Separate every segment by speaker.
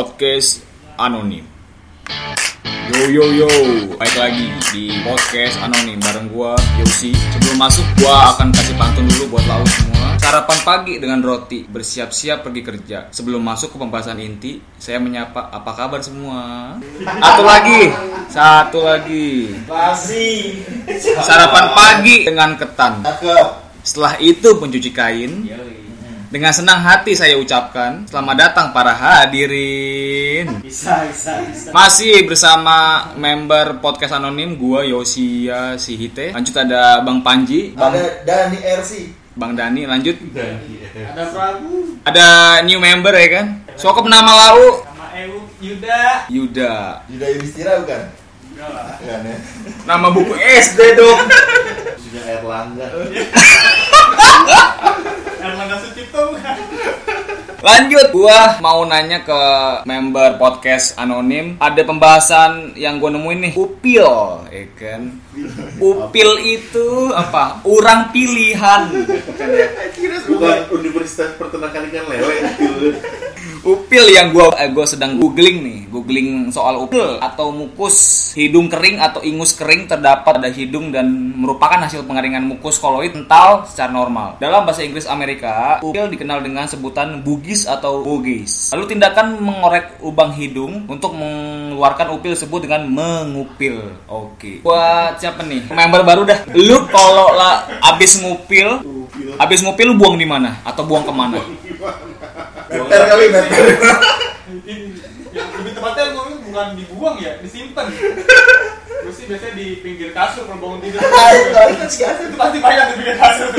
Speaker 1: podcast anonim. Yo yo yo, baik lagi di podcast anonim bareng gua Yosi. Sebelum masuk gua akan kasih pantun dulu buat lau semua. Sarapan pagi dengan roti, bersiap-siap pergi kerja. Sebelum masuk ke pembahasan inti, saya menyapa apa kabar semua? Satu lagi, satu lagi.
Speaker 2: Basi.
Speaker 1: Sarapan pagi dengan ketan.
Speaker 2: Cakep.
Speaker 1: Setelah itu mencuci kain. Dengan senang hati saya ucapkan selamat datang para hadirin.
Speaker 2: Bisa, bisa, bisa.
Speaker 1: Masih bersama member podcast anonim gua Yosia Sihite. Lanjut ada Bang Panji, Bang,
Speaker 2: Ada Dani RC.
Speaker 1: Bang Dani lanjut.
Speaker 3: Ada Prabu
Speaker 1: Ada new member ya kan? Sokop nama lau
Speaker 3: sama Ewu Yuda.
Speaker 1: Yuda.
Speaker 2: Yuda Yudhistira bukan?
Speaker 3: Enggak lah.
Speaker 2: Bukan ya.
Speaker 1: Nama buku SD dong.
Speaker 2: Yuda Erlangga.
Speaker 4: Oh,
Speaker 3: Erlangga Sucipto bukan?
Speaker 1: Lanjut, gua mau nanya ke member podcast anonim. Ada pembahasan yang gua nemuin nih, upil, ya kan? Upil itu apa? Orang pilihan.
Speaker 4: Bukan Universitas Peternakan Ikan Lele gitu.
Speaker 1: Upil yang gua eh, gua sedang googling nih, googling soal upil atau mukus hidung kering atau ingus kering terdapat pada hidung dan merupakan hasil pengeringan mukus koloid kental secara normal. Dalam bahasa Inggris Amerika, upil dikenal dengan sebutan bugis atau bugis. Lalu tindakan mengorek lubang hidung untuk mengeluarkan upil disebut dengan mengupil. Oke. Buat siapa nih? Member baru dah. Lu kalau lah abis ngupil, abis ngupil lu buang di mana atau buang kemana?
Speaker 2: Better kali better.
Speaker 3: Yang lebih tepatnya gue bukan dibuang ya, disimpan. Gue sih biasanya di pinggir kasur kalau bangun tidur.
Speaker 2: Ayo, kita sih
Speaker 3: Itu pasti banyak di pinggir kasur.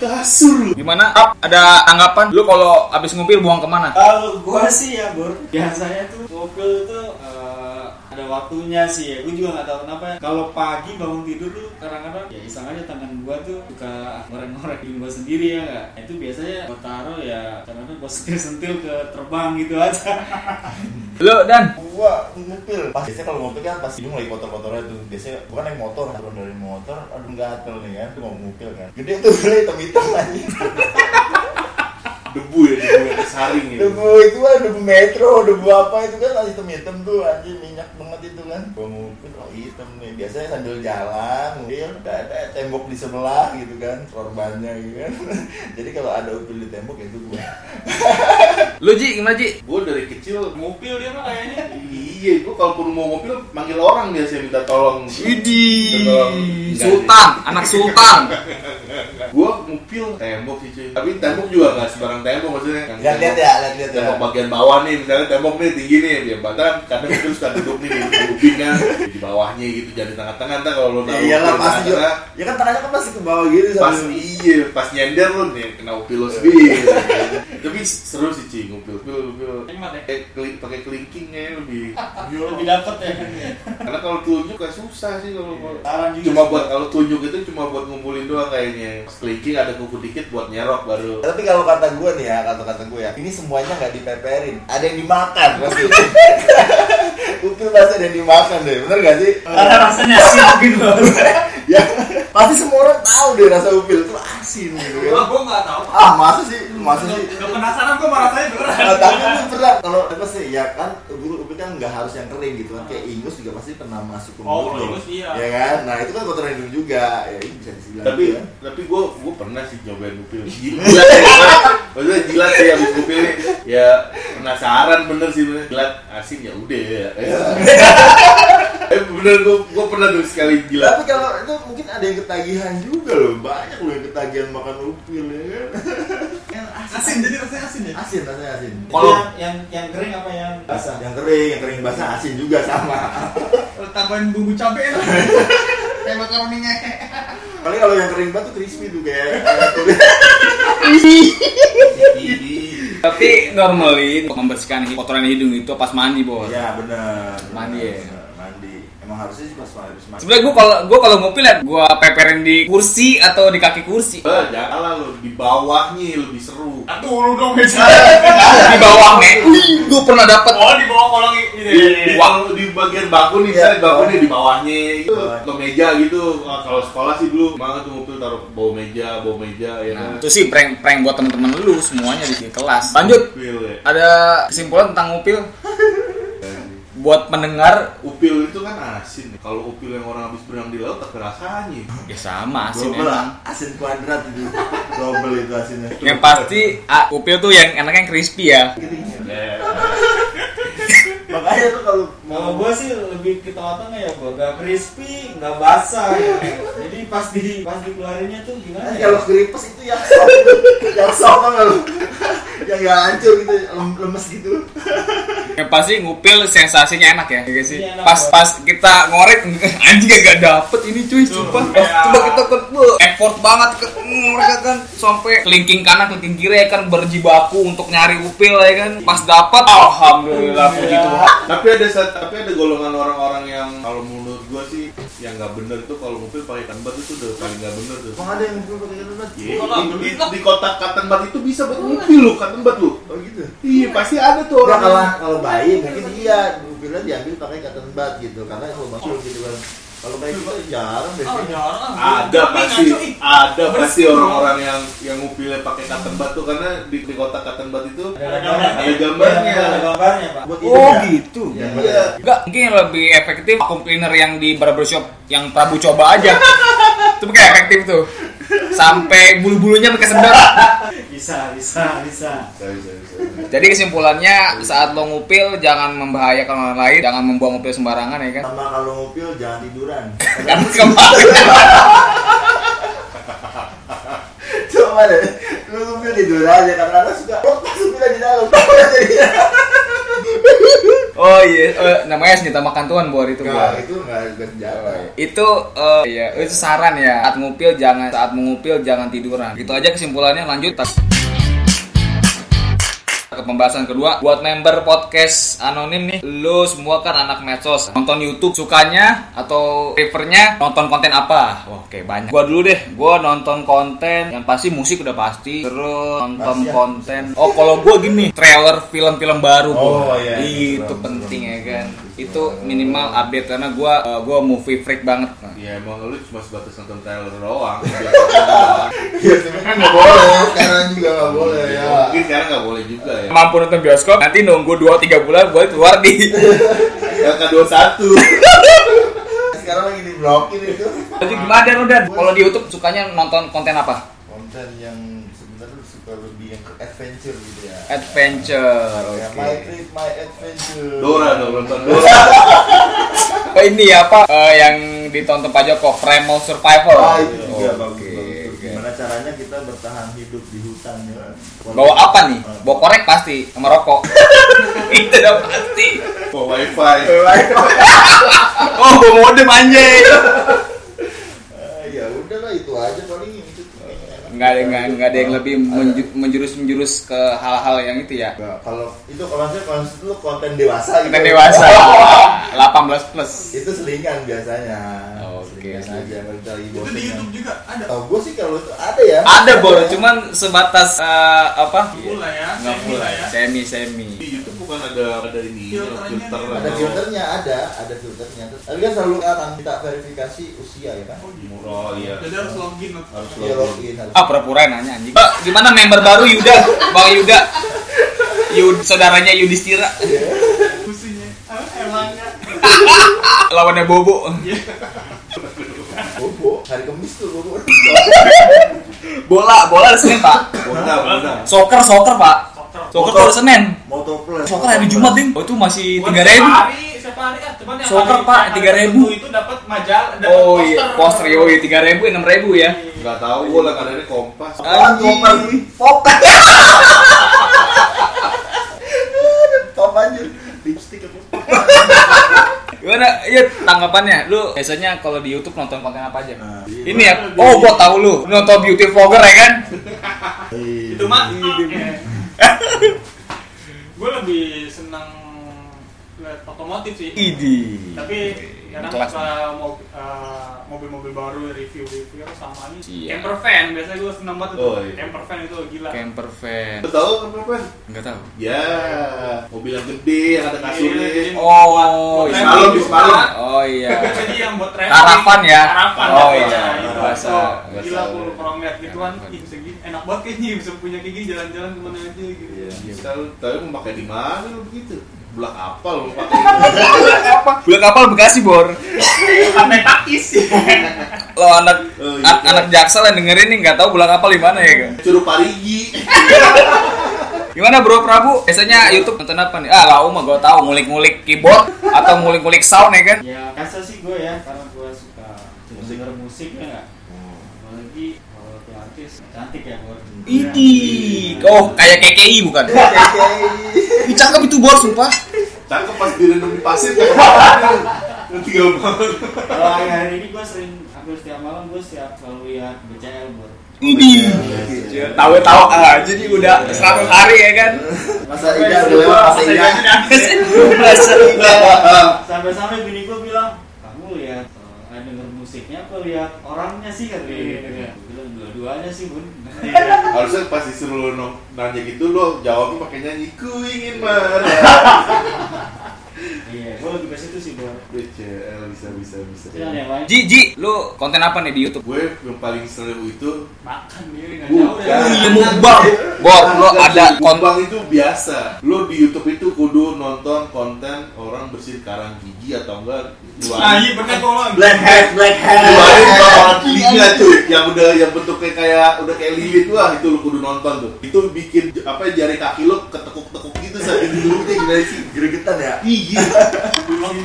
Speaker 4: Kasur.
Speaker 1: Gimana? Ap, ada tanggapan? Lu kalau abis ngupil buang kemana?
Speaker 5: Kalau gua sih ya Bur, biasanya tuh mobil itu eh, ada waktunya sih ya. Gua juga nggak tahu kenapa. ya. Kalau pagi bangun tidur tuh kadang-kadang ya iseng aja tangan gua tuh suka ngorek-ngorek diri gua sendiri ya nggak. Nah, Itu biasanya gua taruh ya kadang-kadang gua sentil-sentil ke terbang gitu aja.
Speaker 1: Lu dan
Speaker 2: Gua ngupil. Pas biasanya kalau ngupil kan pas hidung lagi kotor-kotornya tuh. Biasanya bukan yang motor, turun dari motor, aduh gatel nih kan. Tuh mau ngupil kan. Gede tuh gede hitam-hitam anjing.
Speaker 4: Debu ya, debu yang disaring gitu.
Speaker 2: Debu itu kan debu metro, debu apa itu kan hitam-hitam tuh anjing minyak banget itu kan. Gua ngupil oh hitam nih. Biasanya sambil jalan, ngupil ada ada tembok di sebelah gitu kan, korbannya gitu kan. Jadi kalau ada upil di tembok ya itu gua.
Speaker 1: lu Ji gimana Ji?
Speaker 4: Gue dari kecil
Speaker 3: Ngupil dia mah kayaknya.
Speaker 4: Iya, gue kalau perlu mau mobil manggil orang dia saya minta tolong.
Speaker 1: Idi.
Speaker 4: Enggak,
Speaker 1: Sultan, anak sultan.
Speaker 4: Gue ngupil tembok sih cuy. Tapi tembok juga nggak sembarang tembok maksudnya. Yang
Speaker 2: Lihat-lihat
Speaker 4: tembok-
Speaker 2: ya, lihat-lihat ya.
Speaker 4: Tembok bagian bawah nih, misalnya tembok nih tinggi nih dia batang, karena itu suka duduk nih di kuping kan di bawahnya gitu, jadi tengah-tengah ntar kalau lo
Speaker 2: Ya
Speaker 4: naruh
Speaker 2: iyalah
Speaker 4: di
Speaker 2: pasti juga.
Speaker 4: tengah-tengah,
Speaker 2: Ya kan tangannya kan pasti ke bawah gitu
Speaker 4: pas
Speaker 2: sambil-
Speaker 4: iya pas nyender lu nih kena upil lu sendiri tapi seru sih cing upil upil upil
Speaker 3: Nikmat ya.
Speaker 4: eh keling pakai kelingkingnya lebih
Speaker 5: Lebih dapet ya.
Speaker 4: karena kalau telunjuk kan susah sih kalau kalau-
Speaker 5: Saran juga.
Speaker 4: cuma buat kalau telunjuk itu cuma buat ngumpulin doang kayaknya Pas kelingking ada kuku dikit buat nyerok baru
Speaker 2: Tapi kalau kata gue nih ya, kata kata gue ya, ini semuanya nggak dipeperin, ada yang dimakan pasti. Upil pasti ada yang dimakan deh, bener gak sih?
Speaker 4: Eh,
Speaker 5: Karena rasanya asin mungkin Bur.
Speaker 2: ya pasti semua orang tahu deh rasa upil itu asin gitu kan.
Speaker 3: gue nggak tahu.
Speaker 2: Ah masa sih, masa sih?
Speaker 3: Gak penasaran gue rasanya beneran.
Speaker 2: Nah, tapi lu pernah kalau apa sih ya kan guru upil kan nggak harus yang kering gitu kan kayak ingus juga pasti pernah masuk ke
Speaker 3: Oh,
Speaker 2: mulut
Speaker 3: kalau
Speaker 2: lu.
Speaker 3: ingus iya.
Speaker 2: ya kan nah itu kan kotoran hidung juga ya ini bisa dibilang
Speaker 4: tapi
Speaker 2: gitu kan.
Speaker 4: tapi gue gue pernah sih nyobain upil jilat ya maksudnya jilat sih abis upil nih. ya penasaran bener sih bener jilat asin ya udah ya. eh bener gue gue pernah tuh sekali jilat
Speaker 2: tapi kalau itu mungkin ada yang ketagihan juga loh banyak loh yang ketagihan makan upil ya kan Kan
Speaker 3: Asin jadi rasanya asin ya.
Speaker 2: asin rasanya asin
Speaker 1: Kalau-
Speaker 5: Yang- yang yang kering apa yang basah?
Speaker 2: yang kering yang kering basah asin juga sama
Speaker 3: Tambahin bumbu cabai lah. Kayak makaroni ngehe.
Speaker 2: paling kalau yang kering banget tuh crispy tuh kayak
Speaker 1: Tapi normally untuk membersihkan hid- kotoran hidung itu pas mandi, Bos.
Speaker 2: ya benar
Speaker 1: Mandi ya?
Speaker 2: mandi emang harusnya sih pas mandi pas mandi
Speaker 1: Sebenarnya gua kalau gua kalau ngupil ya gua peperin di kursi atau di kaki kursi.
Speaker 4: Eh, jangan lah lo di bawahnya lebih seru
Speaker 3: Aduh lu dong meja.
Speaker 1: Di bawah mek. gue pernah dapat
Speaker 3: Oh, di bawah kolong gitu
Speaker 1: Iya,
Speaker 4: Di,
Speaker 3: ya.
Speaker 4: di, Iya, di bagian baku nih, misalnya baku nih di bawahnya gitu,
Speaker 2: Bawah.
Speaker 4: atau meja gitu. Ah, kalau sekolah sih dulu banget tuh mobil taruh bawah meja, bawah meja ya kan.
Speaker 1: Nah, itu sih prank prank buat teman-teman lu semuanya di di kelas. Lanjut.
Speaker 4: Upil ya.
Speaker 1: Ada kesimpulan tentang upil buat mendengar
Speaker 4: Upil itu kan asin. ya. Kalau upil yang orang habis berenang di laut tak rasanya.
Speaker 1: ya sama asin
Speaker 2: Global
Speaker 1: emang.
Speaker 2: asin kuadrat itu. Global itu asinnya.
Speaker 1: Yang pasti ah, upil tuh yang enaknya yang crispy ya.
Speaker 2: Makanya tuh kalau
Speaker 5: Kalau gua sih lebih ke Jawa Tengah ya, gua nggak crispy, nggak basah. ya. Jadi pas di pas dikeluarinnya tuh gimana?
Speaker 2: Kan
Speaker 5: Ya?
Speaker 2: kalau keripes itu yang soft, yang soft kan lu, yang nggak hancur gitu, lem- lemes gitu.
Speaker 1: Yang pasti ngupil sensasinya enak ya, ya guys sih.
Speaker 5: Iya, enak.
Speaker 1: Pas pas kita ngorek anjing gak dapet ini cuy, sumpah. Coba kita ke effort banget ke ngorek kan sampai kelingking kanan kelingking kiri ya kan berjibaku untuk nyari upil ya kan. Pas dapet alhamdulillah puji Tuhan.
Speaker 4: tapi ada sat- tapi ada golongan orang-orang yang kalau menurut gua sih yang nggak bener tuh kalau upil pakai tanbat itu udah paling nggak bener tuh.
Speaker 2: Emang ada yang gue pakai Oh, lebat?
Speaker 4: Iya, di, di, di kotak katan bat itu bisa buat upil lu katan bat lu.
Speaker 2: Oh gitu.
Speaker 4: Iya pasti ada tuh
Speaker 2: Enggak
Speaker 4: orang.
Speaker 2: kalau kalau bayi mungkin iya, gue bilang diambil pakai cotton bud gitu, karena itu masuk gitu kan. Kalau bayi kita jarang deh.
Speaker 3: Oh, jarang.
Speaker 4: ada
Speaker 3: Tapi
Speaker 4: pasti
Speaker 3: ngaco, ih.
Speaker 4: ada pasti
Speaker 3: Bersih,
Speaker 4: orang-orang yang yang ngupilnya pakai katan bat tuh karena di, di kotak katan bat itu
Speaker 5: Ada gambarnya.
Speaker 4: Ada gambarnya.
Speaker 5: Ada gambarnya, Pak.
Speaker 2: Buat
Speaker 1: Oh,
Speaker 2: ya.
Speaker 1: gitu.
Speaker 2: Ya,
Speaker 4: Iya.
Speaker 1: Enggak, mungkin yang lebih efektif vacuum cleaner yang di barbershop yang Prabu coba aja. itu mungkin efektif tuh. Sampai bulu-bulunya pakai sendal.
Speaker 5: Bisa, bisa, bisa.
Speaker 4: Sorry, sorry, sorry.
Speaker 1: Jadi kesimpulannya saat lo ngupil jangan membahayakan orang lain, jangan membuang upil sembarangan ya kan.
Speaker 2: Sama kalau ngupil jangan tiduran.
Speaker 1: Karena kemarin
Speaker 2: Coba deh, lu ngupil tidur aja karena anak suka rotak sembilan di dalam. Tahu ya jadinya.
Speaker 1: Oh iya, eh, namanya senjata makan Tuhan buat itu.
Speaker 2: Enggak,
Speaker 1: Buat.
Speaker 2: itu enggak enggak senjata.
Speaker 1: Itu eh, iya, itu saran ya. Saat ngupil jangan saat mengupil jangan tiduran. Gitu aja kesimpulannya lanjut ke pembahasan kedua buat member podcast anonim nih lo semua kan anak medsos nonton YouTube sukanya atau prefernya nonton konten apa oke banyak gua dulu deh gua nonton konten yang pasti musik udah pasti terus nonton
Speaker 2: Pasti ya.
Speaker 1: konten oh kalau gua gini trailer film-film baru
Speaker 2: Oh,
Speaker 1: gua.
Speaker 2: iya.
Speaker 1: itu
Speaker 2: Film,
Speaker 1: penting
Speaker 2: film.
Speaker 1: ya kan itu minimal update karena gua eh, gua movie freak banget
Speaker 4: Ya emang lu cuma sebatas nonton trailer doang.
Speaker 2: Iya, sebenarnya nggak boleh. Sekarang juga nggak boleh ya.
Speaker 4: Mungkin sekarang nggak boleh juga ya.
Speaker 1: mampu nonton bioskop nanti nunggu 2-3 bulan buat keluar di
Speaker 4: LK21
Speaker 2: Sekarang lagi diblokin itu.
Speaker 1: Jadi gimana Dan Udan? Kalau di YouTube sukanya nonton konten apa?
Speaker 2: Konten yang sebenarnya lu suka lebih yang ke adventure gitu ya.
Speaker 1: Adventure.
Speaker 2: Ya,
Speaker 1: Oke.
Speaker 2: my trip, my adventure.
Speaker 4: Dora dong nonton Dora.
Speaker 1: Oh, ini apa eh, yang ditonton Pak Joko? Primal Survival.
Speaker 2: Ah, itu
Speaker 1: Oh,
Speaker 2: juga
Speaker 1: oke,
Speaker 2: bagus. bagus.
Speaker 1: oke.
Speaker 2: Gimana caranya kita bertahan hidup di hutan ya? kan?
Speaker 1: Bawa apa nih?
Speaker 2: Ah.
Speaker 1: Bawa korek pasti sama rokok. itu udah pasti.
Speaker 4: Bawa wifi.
Speaker 1: Oh, bawa modem anjay.
Speaker 2: Eh, Ya udahlah itu aja paling itu.
Speaker 1: Enggak ada enggak, ada yang lebih menju- menjurus-menjurus ke hal-hal yang itu ya.
Speaker 2: Nggak, kalau itu kalau saya kalau itu konten dewasa gitu.
Speaker 1: Kita dewasa. 18 plus.
Speaker 2: Itu selingan biasanya.
Speaker 1: Oke,
Speaker 2: Selingan
Speaker 1: selingan.
Speaker 2: aja kalau kita lagi
Speaker 3: Itu di
Speaker 2: bosen kan.
Speaker 3: YouTube juga ada.
Speaker 1: Iya.
Speaker 2: Tahu gue sih kalau itu ada ya.
Speaker 1: Ada bor, cuman sebatas eh, apa?
Speaker 3: Full lah ya,
Speaker 1: Nggak
Speaker 3: semi
Speaker 1: full
Speaker 3: lah ya.
Speaker 1: Semi semi.
Speaker 4: Di YouTube bukan ada ada ini
Speaker 3: Filternya
Speaker 4: filter
Speaker 3: nih.
Speaker 2: ada
Speaker 4: atau-
Speaker 2: filternya ada ada filternya Terus- tapi kan selalu kan minta verifikasi usia ya kan
Speaker 4: Murah ya.
Speaker 3: Jadi harus login.
Speaker 4: Harus
Speaker 2: Iya,
Speaker 4: login.
Speaker 2: login harus
Speaker 1: Ah pura-pura nanya anjing. Mbak, gimana member baru Yuda? Bang Yuda. Yud, saudaranya Yudhistira
Speaker 3: Kusinya. Ah, Elangnya.
Speaker 1: lawannya Bobo.
Speaker 2: bobo iya. Oh, hari kemis tuh bobo
Speaker 1: Bola, bola hari Senin, Pak.
Speaker 4: Bola bola.
Speaker 1: Soccer, soccer, Pak.
Speaker 3: Soccer.
Speaker 1: Soccer tuh hari Senin.
Speaker 2: motor plus
Speaker 1: Soccer hari Jumat, Ding. Oh, itu masih
Speaker 3: Buat
Speaker 1: 3000.
Speaker 3: Sehari, setiap hari ah, cuman yang
Speaker 1: Soccer,
Speaker 3: hari-
Speaker 1: Pak,
Speaker 3: yang hari
Speaker 1: 3.000.
Speaker 3: tertentu Itu dapat majalah, dapat
Speaker 1: Oh iya, poster yo 3000 6000 ya.
Speaker 4: Enggak tahu gua lah kadang kompas.
Speaker 2: Ah.
Speaker 1: Anjing.
Speaker 2: Popet. Top anjir. Lipstick aku.
Speaker 1: Gimana? Iya, tanggapannya. Lu biasanya kalau di YouTube nonton konten apa aja?
Speaker 2: Nah,
Speaker 3: iya.
Speaker 1: Ini ya. Oh, gua tahu lu. Lu Nonton beauty vlogger ya kan? Iya,
Speaker 2: iya.
Speaker 3: ah, iya. Itu mah. Gue lebih senang lihat otomotif sih
Speaker 1: Idi.
Speaker 3: tapi kadang
Speaker 1: Kelas.
Speaker 3: suka mo- eh, mobil-mobil baru review review sama aja
Speaker 1: Iya.
Speaker 3: camper van biasanya gue seneng banget itu
Speaker 4: Oh, iya.
Speaker 3: camper van itu gila
Speaker 1: Camper van.
Speaker 4: Lo tau kenapa?
Speaker 1: Enggak tahu.
Speaker 4: kan, Ya, mobil yang gede, yang ada kasurnya.
Speaker 3: Iya, iya.
Speaker 1: Oh,
Speaker 4: Di
Speaker 1: iya.
Speaker 4: Spalung, di Spalung.
Speaker 1: Oh iya.
Speaker 3: jadi yang buat traveling
Speaker 1: Karavan ya?
Speaker 3: karavan
Speaker 1: Oh,
Speaker 3: ya,
Speaker 1: iya.
Speaker 3: itu.
Speaker 1: Bahasa-
Speaker 3: Oh,
Speaker 4: bahasa-
Speaker 3: gila puluh orang lihat gitu kan
Speaker 1: Karavan.
Speaker 3: ih segini enak banget kayaknya bisa punya kayak gini jalan-jalan kemana aja gitu
Speaker 4: Iya. Misal, tapi mau pakai di mana lo begitu? Belak apa lo mau pakai?
Speaker 1: Apa? Bulan kapal Bekasi, Bor.
Speaker 3: sampai taktis
Speaker 1: Lo anak
Speaker 4: Oh, iya.
Speaker 1: an- anak jaksel yang dengerin nih nggak tahu bulan kapal di mana ya, Kak?
Speaker 4: Curug parigi.
Speaker 1: Gimana Bro Prabu? Biasanya YouTube nonton apa nih? Ah, lau mah gua tahu ngulik-ngulik keyboard atau ngulik-ngulik sound ya kan?
Speaker 5: ya kasar sih gue ya karena gue suka denger musik ya nggak apalagi kalau tuh artis cantik ya Iya. gue
Speaker 1: Idi. Oh, kayak KKI bukan?
Speaker 2: Iya,
Speaker 1: Ih, cakep itu Bor, sumpah.
Speaker 4: Cakep pas direndam di pasir. Nanti gak mau.
Speaker 5: kalau hari hari ini gue sering hampir setiap malam gue setiap selalu ya BCL buat
Speaker 2: Iya,
Speaker 1: Idi. Tahu-tahu aja jadi udah 100 hari ya kan?
Speaker 2: Masa Ida udah lewat masa iya. Eh, Ida.
Speaker 1: Masa
Speaker 5: sampai-sampai bini gue bilang kamu lihat eh, denger musiknya apa lihat orangnya sih kan
Speaker 3: Iya, iya.
Speaker 5: bilang dua-duanya sih bun
Speaker 4: Harusnya pas disuruh lo no- nanya gitu lo jawabnya pakai nyanyi ku ingin marah.
Speaker 5: iya gue lebih ke situ sih buat
Speaker 4: BCL bisa bisa bisa.
Speaker 5: jangan yang lain
Speaker 1: Ji, Ji, lu konten apa nih di YouTube?
Speaker 4: Gue yang paling seru itu
Speaker 3: makan Kan, dia nggak
Speaker 4: Bukan.
Speaker 3: jauh ya.
Speaker 1: Iya,
Speaker 3: dari
Speaker 1: mukbang. Bor, lu ada konten
Speaker 4: konten itu biasa. Lo di YouTube itu kudu nonton konten orang bersih karang gigi atau enggak
Speaker 3: nah
Speaker 4: keluarin
Speaker 3: iya bener tolong
Speaker 2: Black hat, black
Speaker 4: keluarin
Speaker 2: hat.
Speaker 4: bakalan telinga cuy yang udah yang bentuknya kayak udah kayak lilit wah itu lo kudu nonton tuh. Itu bikin apa jari kaki lo ketekuk-tekuk gitu sakit di lutnya gimana sih?
Speaker 2: Gregetan ya.
Speaker 4: Iya,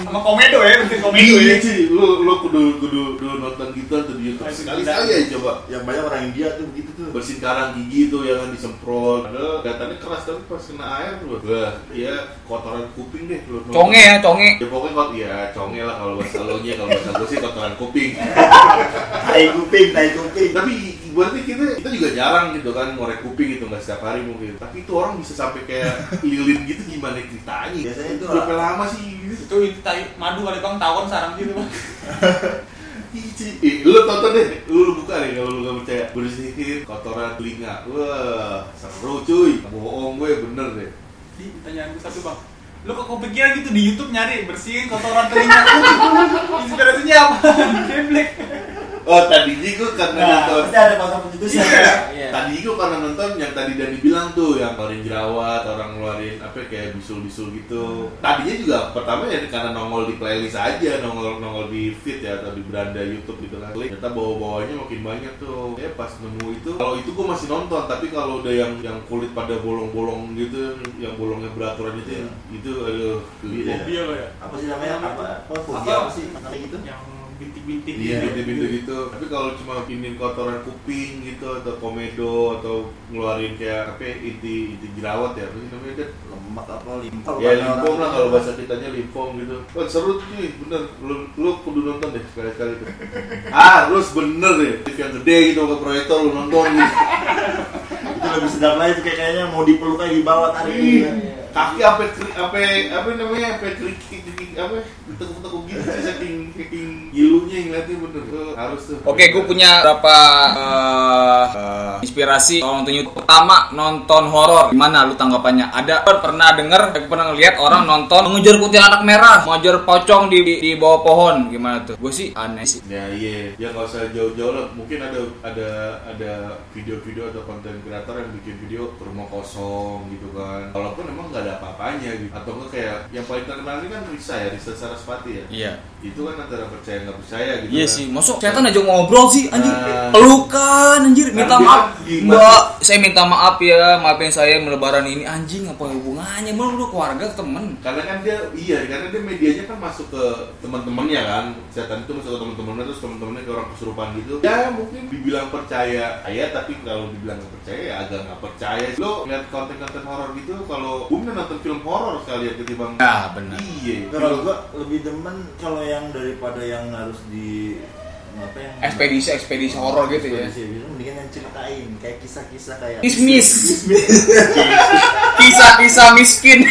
Speaker 3: sama komedo ya penting komedo
Speaker 4: iya
Speaker 3: ya
Speaker 4: cuy. Lo lo kudu kudu kudu nonton gitu tuh di YouTube sekali sekali aja coba.
Speaker 2: Yang banyak orang India tuh begitu tuh.
Speaker 4: bersin karang gigi tuh yang kan disemprot ada kelihatannya keras tapi pas kena air lu wah iya kotoran kuping deh lu
Speaker 1: conge ya, conge.
Speaker 4: ya pokoknya kalau ya conge lah kalau bahasa lo nya kalau bahasa gue sih kotoran kuping
Speaker 2: Tai kuping, tai kuping.
Speaker 4: tapi berarti kita kita juga jarang gitu kan ngorek kuping gitu nggak setiap hari mungkin tapi itu orang bisa sampai kayak lilin gitu gimana ceritanya
Speaker 2: Biasanya itu
Speaker 4: berapa
Speaker 2: lah.
Speaker 4: lama sih gitu?
Speaker 3: itu tai madu kali bang tawon sarang gitu bang
Speaker 4: Ih, cuy. Ih, Eh, lu tonton deh lu, lu buka deh kalau lu gak percaya bersihin kotoran telinga wah seru cuy bohong gue bener deh
Speaker 3: di pertanyaan gue satu bang lu kok kepikiran gitu di YouTube nyari bersihin kotoran telinga inspirasinya apa geblek
Speaker 4: Oh tadinya gue karena
Speaker 5: nah
Speaker 4: nonton
Speaker 5: pasti ada pasal pencetusnya kan? iya
Speaker 4: Tadi gue karena nonton yang tadi dan dibilang tuh yang ngeluarin jerawat, orang ngeluarin apa kayak bisul-bisul gitu. Tadinya juga pertama ya karena nongol di playlist aja, nongol-nongol di feed ya atau di beranda YouTube gitu kan. Klik, Ternyata bawa-bawanya makin banyak tuh. Ya pas nemu itu, kalau itu gue masih nonton, tapi kalau udah yang yang kulit pada bolong-bolong gitu, yang bolongnya beraturan itu, itu aduh geli deh.
Speaker 3: iya lo ya
Speaker 2: Apa sih namanya? Apa? Apa? Fobia apa
Speaker 3: Apa?
Speaker 2: sih? Namanya gitu?
Speaker 3: yang bintik-bintik
Speaker 4: Iya,
Speaker 3: gitu.
Speaker 4: bintu-bintu gitu. Tapi kalau cuma pinin kotoran kuping gitu atau komedo atau ngeluarin kayak apa ya, inti inti jerawat ya, apa sih namanya Dad?
Speaker 2: Lemak apa? Limpah.
Speaker 4: Ya limpom lah kalau bahasa kitanya limpom gitu. Wah seru tuh cuy, bener. Lu, lu kudu nonton deh sekali-kali tuh. Ah, terus bener deh. Lift yang gede gitu ke proyektor lu nonton gitu.
Speaker 2: Itu lebih sedap lagi tuh kayak- kayaknya mau dipeluk aja gitu di bawah tadi.
Speaker 4: Iya. Kaki apa apa apa namanya apa kerikik kerikik apa tekuk-tekuk gitu sih saking saking gilunya ngeliatnya bener. Lu harus tuh.
Speaker 1: Oke, gue punya berapa eh, eh, inspirasi kalau nonton YouTube. Pertama, nonton horor. Gimana lu tanggapannya? Ada Bor, pernah denger, eh, pernah ngeliat orang nonton mengejar kuntilanak merah, mengejar pocong di, di, di bawah pohon. Gimana tuh? Gue sih aneh sih.
Speaker 4: Ya iya, ya nggak usah jauh-jauh lah. Mungkin ada ada ada video-video atau konten kreator yang bikin video ke rumah kosong gitu kan. Walaupun emang nggak ada apa-apanya gitu. Atau nggak kayak yang paling terkenal ini kan Risa ya, Risa Sarasvati ya.
Speaker 1: Iya.
Speaker 4: Itu kan antara percaya nggak percaya gitu.
Speaker 1: Iya
Speaker 4: kan.
Speaker 1: sih, masuk setan aja ngobrol sih anjir.
Speaker 4: Nah.
Speaker 1: Pelukan anjir, minta
Speaker 4: Tapi
Speaker 1: maaf.
Speaker 4: dia di-
Speaker 1: Mbak, saya minta maaf ya, maafin saya melebaran ini anjing apa hubungannya? Belum lu keluarga temen
Speaker 4: Karena kan dia iya, karena dia medianya kan masuk ke teman-temannya kan. Setan itu masuk ke teman-temannya terus teman-temannya ke orang kesurupan gitu. Ya mungkin dibilang percaya, ya tapi kalau dibilang nggak percaya ya agak nggak percaya. Lo lihat konten-konten horor gitu, kalau gue pernah nonton film horor sekali ya ketimbang.
Speaker 1: Nah, benar.
Speaker 4: Iya.
Speaker 2: Kalau gua lebih demen kalau yang daripada yang harus di apa yang
Speaker 1: Ekspedisi ekspedisi horor gitu ya.
Speaker 2: Ekspedisi, gitu. mendingan yang ceritain kayak kisah-kisah kayak
Speaker 1: Kismis. Kisah-kisah miskin.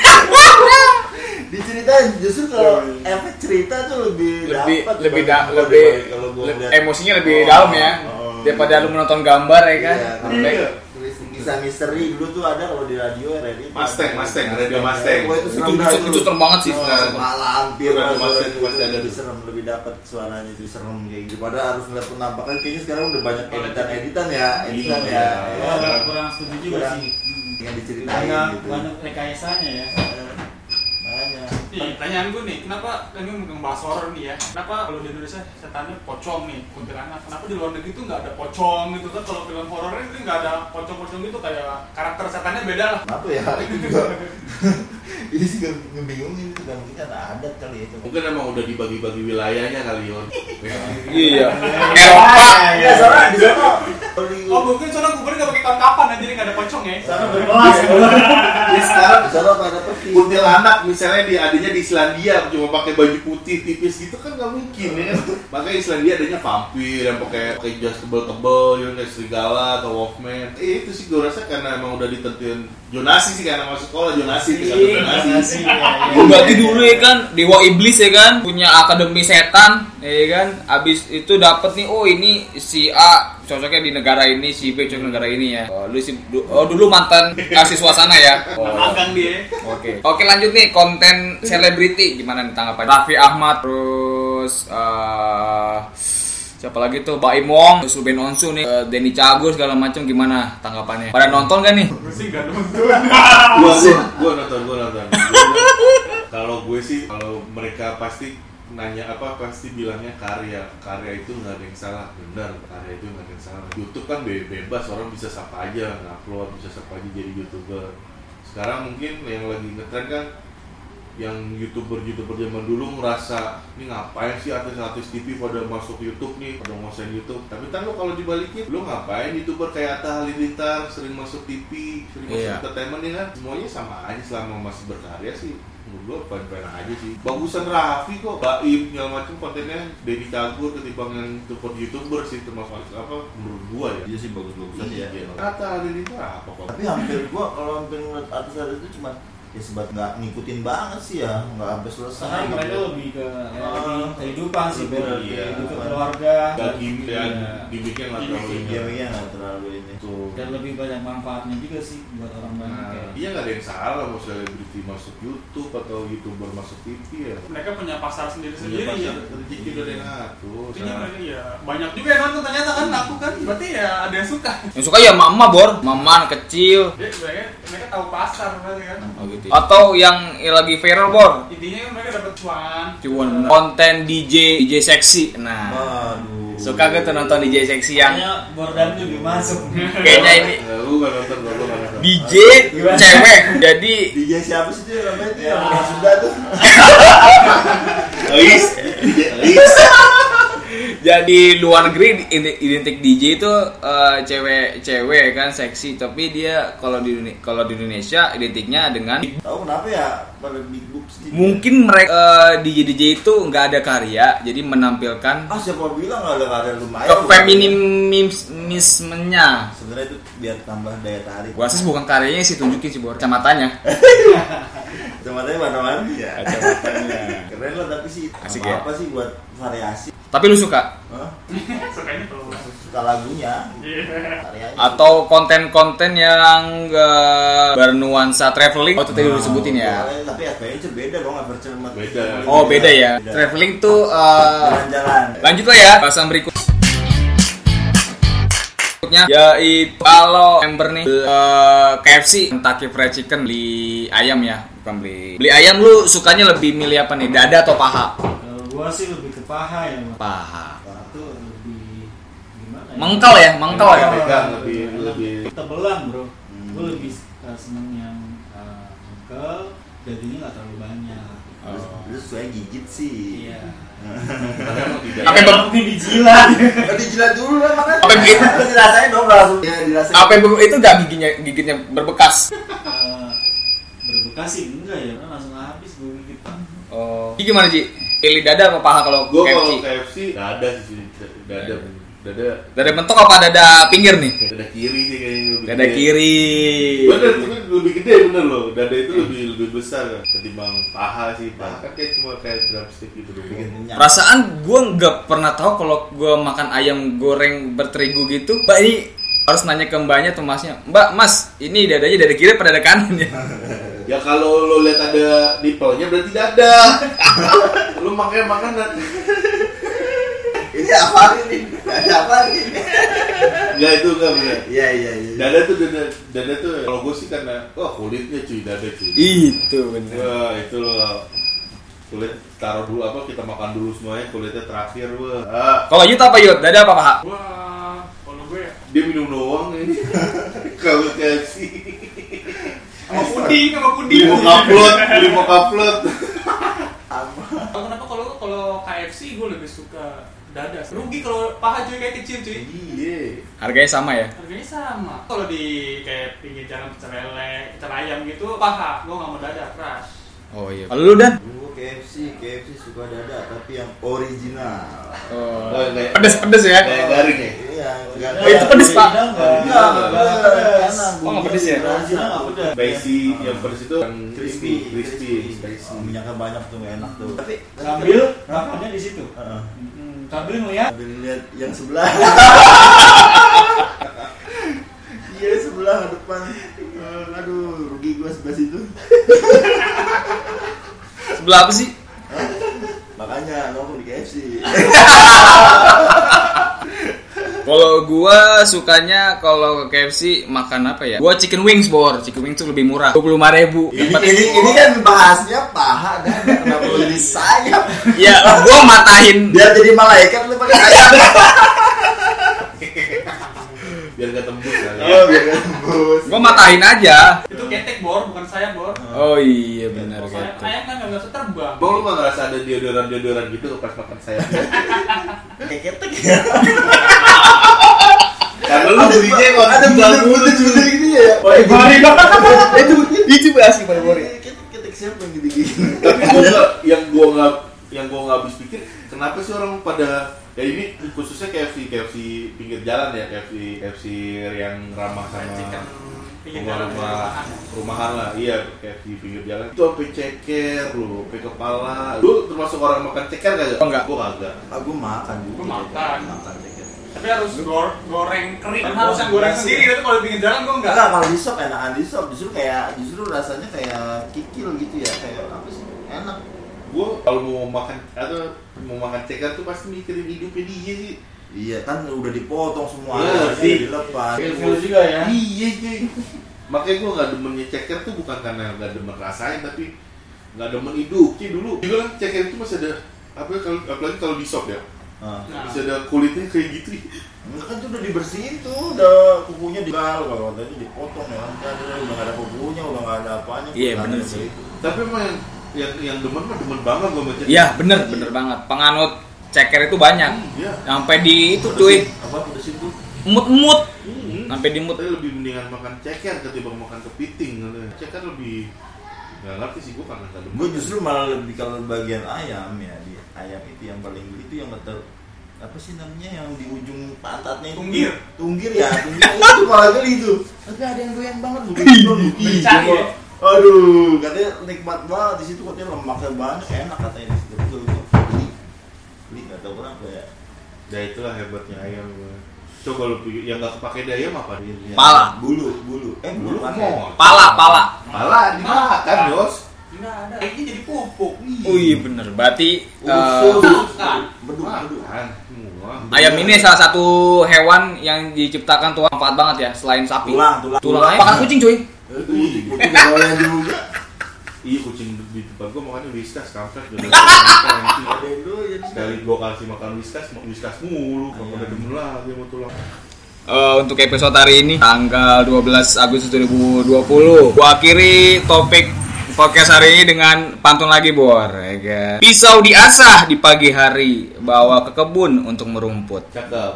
Speaker 2: diceritain justru kalau efek cerita tuh lebih
Speaker 1: lebih
Speaker 2: dapat
Speaker 1: lebih da
Speaker 2: dibanding
Speaker 1: lebih
Speaker 2: kalau gua
Speaker 1: le-
Speaker 2: lihat.
Speaker 1: emosinya lebih
Speaker 2: Oh,
Speaker 1: dalam ya
Speaker 2: oh,
Speaker 1: daripada
Speaker 2: iya.
Speaker 1: lu menonton gambar ya kan
Speaker 2: Iya,
Speaker 1: Sampai-
Speaker 4: Iya.
Speaker 2: kisah misteri dulu tuh ada kalau di radio RRI
Speaker 4: Mustang, Mustang, radio Mustang.
Speaker 2: Wah, itu serem
Speaker 1: Itu-
Speaker 2: dah
Speaker 1: itu- itu serem banget sih,
Speaker 2: Oh,
Speaker 1: sebenarnya.
Speaker 2: malah hampir
Speaker 4: Radio
Speaker 2: suara
Speaker 4: Mustang
Speaker 2: itu,
Speaker 4: pasti ada
Speaker 2: lebih
Speaker 4: tuh.
Speaker 2: serem lebih dapat suaranya itu serem kayak gitu padahal harus ngeliat penampakan kayaknya sekarang udah banyak
Speaker 3: Iya.
Speaker 2: editan editan ya editan
Speaker 4: Iya.
Speaker 2: ya, ya.
Speaker 5: Wah, kurang- kurang setuju juga
Speaker 2: Kurang.
Speaker 5: sih. Hmm.
Speaker 2: yang diceritain
Speaker 5: Banyak
Speaker 2: gitu
Speaker 5: banyak rekayasanya ya.
Speaker 2: makanya
Speaker 3: Pertanyaan gue nih, kenapa ini megang bahas horror nih ya? Kenapa kalau di Indonesia setannya pocong nih, kuntilanak? Kenapa di luar negeri tuh nggak ada pocong gitu kan? Kalau film horornya itu nggak ada pocong-pocong gitu kayak karakter setannya beda lah.
Speaker 2: kenapa ya itu juga ini sih nge- ngebingungin juga mungkin kan adat kali ya itu
Speaker 4: Mungkin emang udah dibagi-bagi wilayahnya kali Yon.
Speaker 1: iya
Speaker 5: Ah,
Speaker 2: ya soalnya di sana kalau di-
Speaker 3: Oh mungkin soalnya kuburan nggak pakai kapan-kapan ya, jadi nggak ada pocong ya?
Speaker 2: sana
Speaker 5: Kelas kelas.
Speaker 4: Ini sekarang
Speaker 2: di sana apa ada peti
Speaker 4: kuntilanak misalnya di adanya di Islandia cuma pakai baju putih tipis gitu kan nggak mungkin ya kan? makanya Islandia adanya vampir yang pakai pakai jas tebel-tebel yang kayak serigala atau wolfman eh, itu sih gue rasa karena emang udah ditentuin jonasi sih karena masuk sekolah jonasi tingkat jonasi
Speaker 5: Kasih, ya, ya.
Speaker 1: berarti dulu ya kan dewa iblis ya kan punya akademi setan ya kan abis itu dapet nih oh ini si A cocoknya di negara ini si B cocok di negara ini ya oh, lu si du- oh, dulu mantan kasih suasana ya Oh.
Speaker 3: Magang dia.
Speaker 1: Oke. Oke lanjut nih konten selebriti gimana nih tanggapannya? Raffi Ahmad terus eh, siapa lagi tuh Baim Wong, terus Ruben Onsu nih, eh, Denny Cagur segala macam gimana tanggapannya? Pada nonton gak nih?
Speaker 3: Gue sih nggak nonton.
Speaker 4: gua gua gua nonton gua nonton Gua- kalau gue sih kalau mereka pasti nanya apa pasti bilangnya karya karya itu nggak ada yang salah benar karya itu nggak ada yang salah YouTube kan be- bebas orang bisa siapa aja upload bisa siapa aja jadi youtuber sekarang mungkin yang lagi ngetren kan yang youtuber youtuber zaman dulu ngerasa ini ngapain sih artis-artis TV pada masuk YouTube nih pada nguasain YouTube tapi kan lo kalau dibalikin lo ngapain youtuber kayak Atta Halilintar sering masuk TV sering masuk
Speaker 1: Iya.
Speaker 4: entertainment ya kan semuanya sama aja selama masih berkarya sih menurut gue fan-fan aja sih bagusan Raffi kok Baim segala macam kontennya Denny Cagur ketimbang yang youtuber youtuber sih termasuk apa menurut gua ya
Speaker 2: Iya sih bagus-bagusan ya.
Speaker 4: Atta Halilintar apa kok
Speaker 2: Tapi hampir gua kalau hampir ngeliat artis artis itu cuma ya sebab nggak ngikutin banget sih ya, nggak sampai selesai.
Speaker 5: Karena Nah, mereka
Speaker 2: gitu.
Speaker 5: lebih ke
Speaker 2: Ah.
Speaker 5: lebih kehidupan sih,
Speaker 2: Lebih
Speaker 5: Bor.
Speaker 4: iya.
Speaker 5: Lebih ke keluarga.
Speaker 4: dan gimmick dan
Speaker 5: Iya.
Speaker 4: gimmicknya nggak terlalu
Speaker 2: Dia
Speaker 5: gitu?
Speaker 4: ini.
Speaker 2: kayaknya nggak iya, terlalu ini.
Speaker 4: Tuh.
Speaker 5: Dan lebih banyak manfaatnya juga sih buat orang banyak ya.
Speaker 4: Nah, iya nggak ada yang salah mau selebriti masuk YouTube atau youtuber masuk TV ya.
Speaker 3: Mereka punya pasar sendiri-sendiri
Speaker 4: Iya,
Speaker 3: ya.
Speaker 4: pasti rezeki udah ada yang ngatur.
Speaker 3: Artinya
Speaker 4: Nah,
Speaker 3: mereka ya banyak juga yang nonton ternyata kan aku kan berarti ya ada yang suka.
Speaker 1: Yang suka ya mama bor, maman kecil
Speaker 3: Jadi mereka mereka tahu pasar berarti kan.
Speaker 2: Oh, gitu ya.
Speaker 1: atau yang lagi viral bor.
Speaker 3: Intinya kan mereka dapat cuan.
Speaker 1: Cuman konten DJ DJ seksi. Nah,
Speaker 2: Aduh.
Speaker 1: suka gak tuh nonton DJ seksi yang
Speaker 5: Kayaknya Bordan juga masuk.
Speaker 1: kayaknya ini
Speaker 4: nggak, Eh, lu nggak nonton, nggak, lu nggak nonton.
Speaker 1: DJ cewek. Jadi
Speaker 2: DJ siapa sih dia namanya
Speaker 5: Ya.
Speaker 2: itu yang orang Sunda tuh?
Speaker 4: Elis, Elis.
Speaker 1: Jadi luar negeri ident- identik DJ itu eh, cewek-cewek kan seksi, tapi dia kalau di Duni- kalau di Indonesia identiknya dengan
Speaker 2: Tahu kenapa ya pada big boobs gitu.
Speaker 1: mungkin mereka eh, DJ DJ itu nggak ada karya, jadi menampilkan
Speaker 2: Ah siapa bilang nggak ada karya lumayan?
Speaker 1: kefeminismenya.
Speaker 2: Sebenarnya itu biar tambah daya tarik.
Speaker 1: Gua sih bukan karyanya sih tunjukin sih bor kacamatanya.
Speaker 2: Kacamata warna warni ya. Keren lah tapi sih.
Speaker 1: Asik
Speaker 2: apa,
Speaker 1: ya?
Speaker 2: apa sih buat variasi?
Speaker 1: Tapi lu suka
Speaker 2: Hah?
Speaker 3: Sukanya Iya. kalau
Speaker 2: Suka lagunya, karyanya.
Speaker 1: atau konten-konten yang nggak bernuansa traveling? Oh itu tadi udah disebutin ya.
Speaker 2: Boleh, Tapi adventure beda dong, adventure sama
Speaker 4: Beda.
Speaker 1: Oh beda ya. Traveling tuh eh,
Speaker 2: Jalan-jalan.
Speaker 1: Lanjutlah ya bahasan berikut. Berikutnya yaitu kalau member nih eh, KFC Kentucky Fried Chicken beli ayam ya bukan beli beli ayam lu sukanya lebih milih apa nih dada atau paha
Speaker 5: Kalau gua sih lebih ke paha ya, Bor.
Speaker 1: paha
Speaker 5: Itu lebih gimana ya?
Speaker 1: mengkel ya mengkel ya
Speaker 4: Pegang lebih- lebih-
Speaker 5: tebelan, Bro.
Speaker 2: Hmm.
Speaker 5: Gua lebih uh, seneng yang uh, mengkel, jadinya nggak terlalu banyak.
Speaker 1: Oh.
Speaker 2: Terus terus saya gigit sih.
Speaker 5: Iya.
Speaker 4: Tapi emang tidak.
Speaker 1: Apa yang ber-
Speaker 5: Tapi dijilat.
Speaker 2: Kan dijilat dulu lah makanya.
Speaker 1: Apa yang gigit?
Speaker 2: Terus dirasain dong langsung. Iya,
Speaker 1: Oh,
Speaker 2: dirasain.
Speaker 1: gitu. apa yang ber- itu gak giginya gigitnya berbekas
Speaker 5: Eh, berbekas sih enggak ya, karena langsung habis gua gigit. Bang.
Speaker 1: oh Ini gimana Ji? pilih dada apa paha kalau
Speaker 4: Gua kalau
Speaker 1: KFC
Speaker 4: KFC dada sih, dada, dada,
Speaker 1: dada bentuk apa dada pinggir nih
Speaker 4: dada kiri sih kayaknya. lebih
Speaker 1: dada
Speaker 4: gede.
Speaker 1: kiri
Speaker 4: Bener, tapi lebih gede bener loh dada itu lebih lebih besar kan ketimbang paha sih paha kan kayak cuma kayak drumstick gitu doang
Speaker 2: bikin kenyang
Speaker 1: Ya. Perasaan gue nggak pernah tahu kalau gue makan ayam goreng berterigu gitu. Mbak ini harus nanya ke mbaknya atau masnya. Mbak, mas, ini dadanya dari kiri pada dari kanan ya?
Speaker 4: ya kalau lo lihat ada nipelnya berarti dada lo makanya makanan
Speaker 2: ini apa ini ada apa ini
Speaker 4: nggak itu nggak bener
Speaker 2: iya iya iya
Speaker 4: dada tuh dada dada tuh kalau gue sih karena wah kulitnya cuy dada cuy
Speaker 1: Itu bener.
Speaker 4: Wah, itu loh. Kulit taruh dulu apa kita makan dulu semuanya, kulitnya terakhir, wah. Ah,
Speaker 1: Kalau Yud apa Yud? Dada apa paha?
Speaker 3: Gua kalau gue ya
Speaker 4: dia minum doang ini. Kalau KFC
Speaker 3: sama puding, sama puding.
Speaker 4: beli mau upload, beli mau upload.
Speaker 3: Tahu kenapa kalau kalau KFC gue lebih suka dada. Rugi kalau paha cuy kayak kecil cuy.
Speaker 4: Iya.
Speaker 1: Harganya sama ya?
Speaker 3: Harganya sama. Kalau di kayak pinggir jalan pecel lele, pecel ayam gitu, paha. Gue nggak mau dada, keras.
Speaker 1: Oh iya. Kalau lu dan?
Speaker 2: Dulu KFC, KFC suka dada tapi yang original.
Speaker 4: Oh, kayak
Speaker 1: Pedes-pedes ya?
Speaker 4: kayak garing ya.
Speaker 2: Iya, enggak
Speaker 1: Oh, itu pedes, Pak.
Speaker 4: Enggak,
Speaker 2: enggak pedes.
Speaker 1: Oh, enggak pedes ya?
Speaker 4: Spicy yang pedes itu kan crispy,
Speaker 2: crispy,
Speaker 4: crispy,
Speaker 2: Oh,
Speaker 4: spicy.
Speaker 2: minyaknya banyak tuh nggak enak tuh. Tapi
Speaker 5: sambil makannya di situ
Speaker 2: Heeh.
Speaker 5: Hmm, sambil
Speaker 3: ya?
Speaker 5: ngeliat
Speaker 2: Sambil lihat yang sebelah. Iya sebelah depan. Eh, aduh, rugi gua sebelah situ.
Speaker 1: Sebelah apa sih?
Speaker 2: Makanya nongkrong di KFC.
Speaker 1: Kalau gua sukanya kalau ke KFC makan apa ya? Gua chicken wings bor, chicken wings tuh lebih murah, dua puluh lima ribu.
Speaker 2: ini, ini, ini kan bahasnya paha dan kenapa lu jadi sayap?
Speaker 1: Ya, gua matahin.
Speaker 2: Biar jadi malaikat lu pakai sayap.
Speaker 4: Biar gak tembus kan. kali.
Speaker 2: Oh, biar nggak tembus.
Speaker 1: Gua matahin aja.
Speaker 3: Itu ketek bor, bukan sayap bor.
Speaker 1: Oh iya benar
Speaker 3: Kalau sayap
Speaker 1: gitu.
Speaker 3: ayam kan nggak bisa terbang.
Speaker 4: Bang lu nggak ngerasa ada deodoran-deodoran gitu pas makan sayapnya?
Speaker 2: Kayak
Speaker 3: gitu.
Speaker 2: ketek.
Speaker 4: Karena lu belinya yang
Speaker 2: ada
Speaker 4: orang
Speaker 2: bunder bunder bunder gitu ya Eh,
Speaker 1: Bari
Speaker 2: itu
Speaker 1: Itu bahas gimana
Speaker 2: Eh, ketik siapa yang digigit
Speaker 4: tapi gua nggak- yang gua nggak yang gua nggak habis pikir kenapa sih orang pada ya ini khususnya KFC KFC pinggir jalan ya KFC KFC yang ramah
Speaker 3: Chicken
Speaker 4: sama
Speaker 3: kan. pinggir
Speaker 4: rumah
Speaker 3: jalan.
Speaker 4: rumah rumahan lah iya KFC pinggir jalan itu sampai ceker lu sampai kepala lu termasuk orang makan ceker kagak
Speaker 1: Enggak.
Speaker 4: gua kagak
Speaker 2: aku Ah, makan juga
Speaker 3: Gua makan.
Speaker 2: makan dikit
Speaker 3: Tapi harus gor- goreng kering,
Speaker 2: Tapi
Speaker 3: harus yang goreng
Speaker 2: goreng
Speaker 3: sendiri.
Speaker 2: sih.
Speaker 3: Tapi kalau di pinggir jalan gue
Speaker 2: enggak
Speaker 3: nggak.
Speaker 2: lah, kalau di shop enakan di shop justru kayak justru rasanya kayak kikil gitu ya kayak apa sih enak
Speaker 4: gua kalau mau makan atau mau makan ceker tuh pasti mikirin hidupnya dia sih
Speaker 2: iya kan udah dipotong semua
Speaker 4: Iya,
Speaker 2: alasnya
Speaker 4: sih.
Speaker 2: dilepas
Speaker 5: feel juga ya
Speaker 1: Eh?
Speaker 4: Iya cuy Makanya gue gak demennya ceker tuh bukan karena gak demen rasain Tapi gak demen hidup Cuy dulu Juga kan ceker itu masih ada apa kalau apalagi kalau di shop ya
Speaker 2: Nah,
Speaker 3: Nah,
Speaker 4: masih ada kulitnya kayak gitu
Speaker 2: enggak kan tuh udah dibersihin tuh, udah kukunya digal kalau tadi dipotong ya kan Udah- udah udah nggak ada kukunya, udah nggak ada apanya.
Speaker 1: Iya,
Speaker 2: Udah
Speaker 1: bener
Speaker 2: ada
Speaker 1: sih.
Speaker 2: kulit.
Speaker 4: tapi emang yang yang, yang demen mah demen banget gue macam
Speaker 1: Iya bener bener banget. Penganut ceker itu banyak.
Speaker 4: Hmm, iya
Speaker 1: Sampai di itu cuy,
Speaker 2: Apa pedesin tuh?
Speaker 1: mut-mut.
Speaker 4: Hmm.
Speaker 1: Sampai di mut.
Speaker 4: Tapi lebih mendingan makan ceker ketimbang makan kepiting katanya. ceker lebih nggak ngerti sih gue karena gak demen
Speaker 2: gue justru malah lebih kalau bagian ayam ya di ayam itu yang paling itu yang kata apa sih namanya yang di ujung pantatnya itu
Speaker 3: Tunggir.
Speaker 2: tunggir ya tunggir itu malah geli itu tapi ada yang doyan banget lu
Speaker 3: Bencang ya?
Speaker 2: aduh katanya nikmat banget di situ katanya lemaknya banyak enak katanya di situ betul betul beli beli nggak tahu kenapa ya
Speaker 4: ya itulah hebatnya ayam gue coba lu pikir yang gak kepake daya ayam apa
Speaker 2: Beli, ya.
Speaker 1: Pala.
Speaker 2: bulu bulu eh bulu
Speaker 4: Bulu
Speaker 2: mana ya?
Speaker 4: mau
Speaker 1: Pala, pala.
Speaker 4: Malah dimakan, Kan, Jos.
Speaker 3: nggak ada. Ini jadi pupuk.
Speaker 1: Oh iya bener. Berarti
Speaker 2: usus
Speaker 1: eh,
Speaker 3: Makan.
Speaker 2: bedu bedu
Speaker 4: Makan semua.
Speaker 1: ayam ini salah satu hewan yang diciptakan tuh manfaat banget ya selain sapi.
Speaker 2: tulang tulang
Speaker 1: Tulang ayam makan kucing cuy.
Speaker 2: Eh, itu kucing nggak boleh juga
Speaker 4: Iya kucing di tempat gua makannya whiskas kampret gitu.
Speaker 2: ada yang doyan.
Speaker 4: Sekali gua kasih makan whiskas, makan whiskas mulu. Gak pernah demen lagi sama tulang.
Speaker 1: Eh, untuk episode hari ini tanggal 12 Agustus 2020 gua akhiri topik podcast hari ini dengan pantun lagi bor ya kan? pisau diasah di pagi hari bawa ke kebun untuk merumput
Speaker 4: Cakep.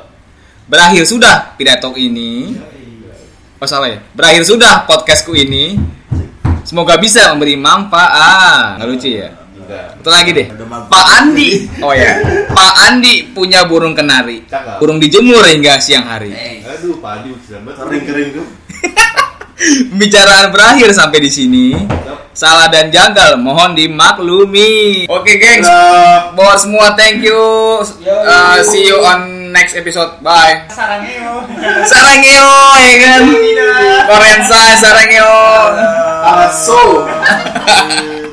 Speaker 1: berakhir sudah pidato ini oh salah ya berakhir sudah podcastku ini semoga bisa memberi manfaat nggak lucu ya
Speaker 4: Enggak.
Speaker 1: satu lagi deh
Speaker 2: Ada manfaat.
Speaker 1: Pak Andi oh ya Pak Andi punya burung kenari
Speaker 3: Eh.
Speaker 4: Cakep.
Speaker 1: burung dijemur hingga siang hari
Speaker 4: Aduh, padi udah banget.
Speaker 2: kering kering tuh
Speaker 1: Pembicaraan berakhir sampai di sini. Salah dan jagal, mohon dimaklumi. Oke, gengs. Bor semua, thank you. Uh, see you on next episode. Bye.
Speaker 5: Sarangeo.
Speaker 1: Sarangyo, ya Ah, kan? Korensai, Sarangyo.
Speaker 4: so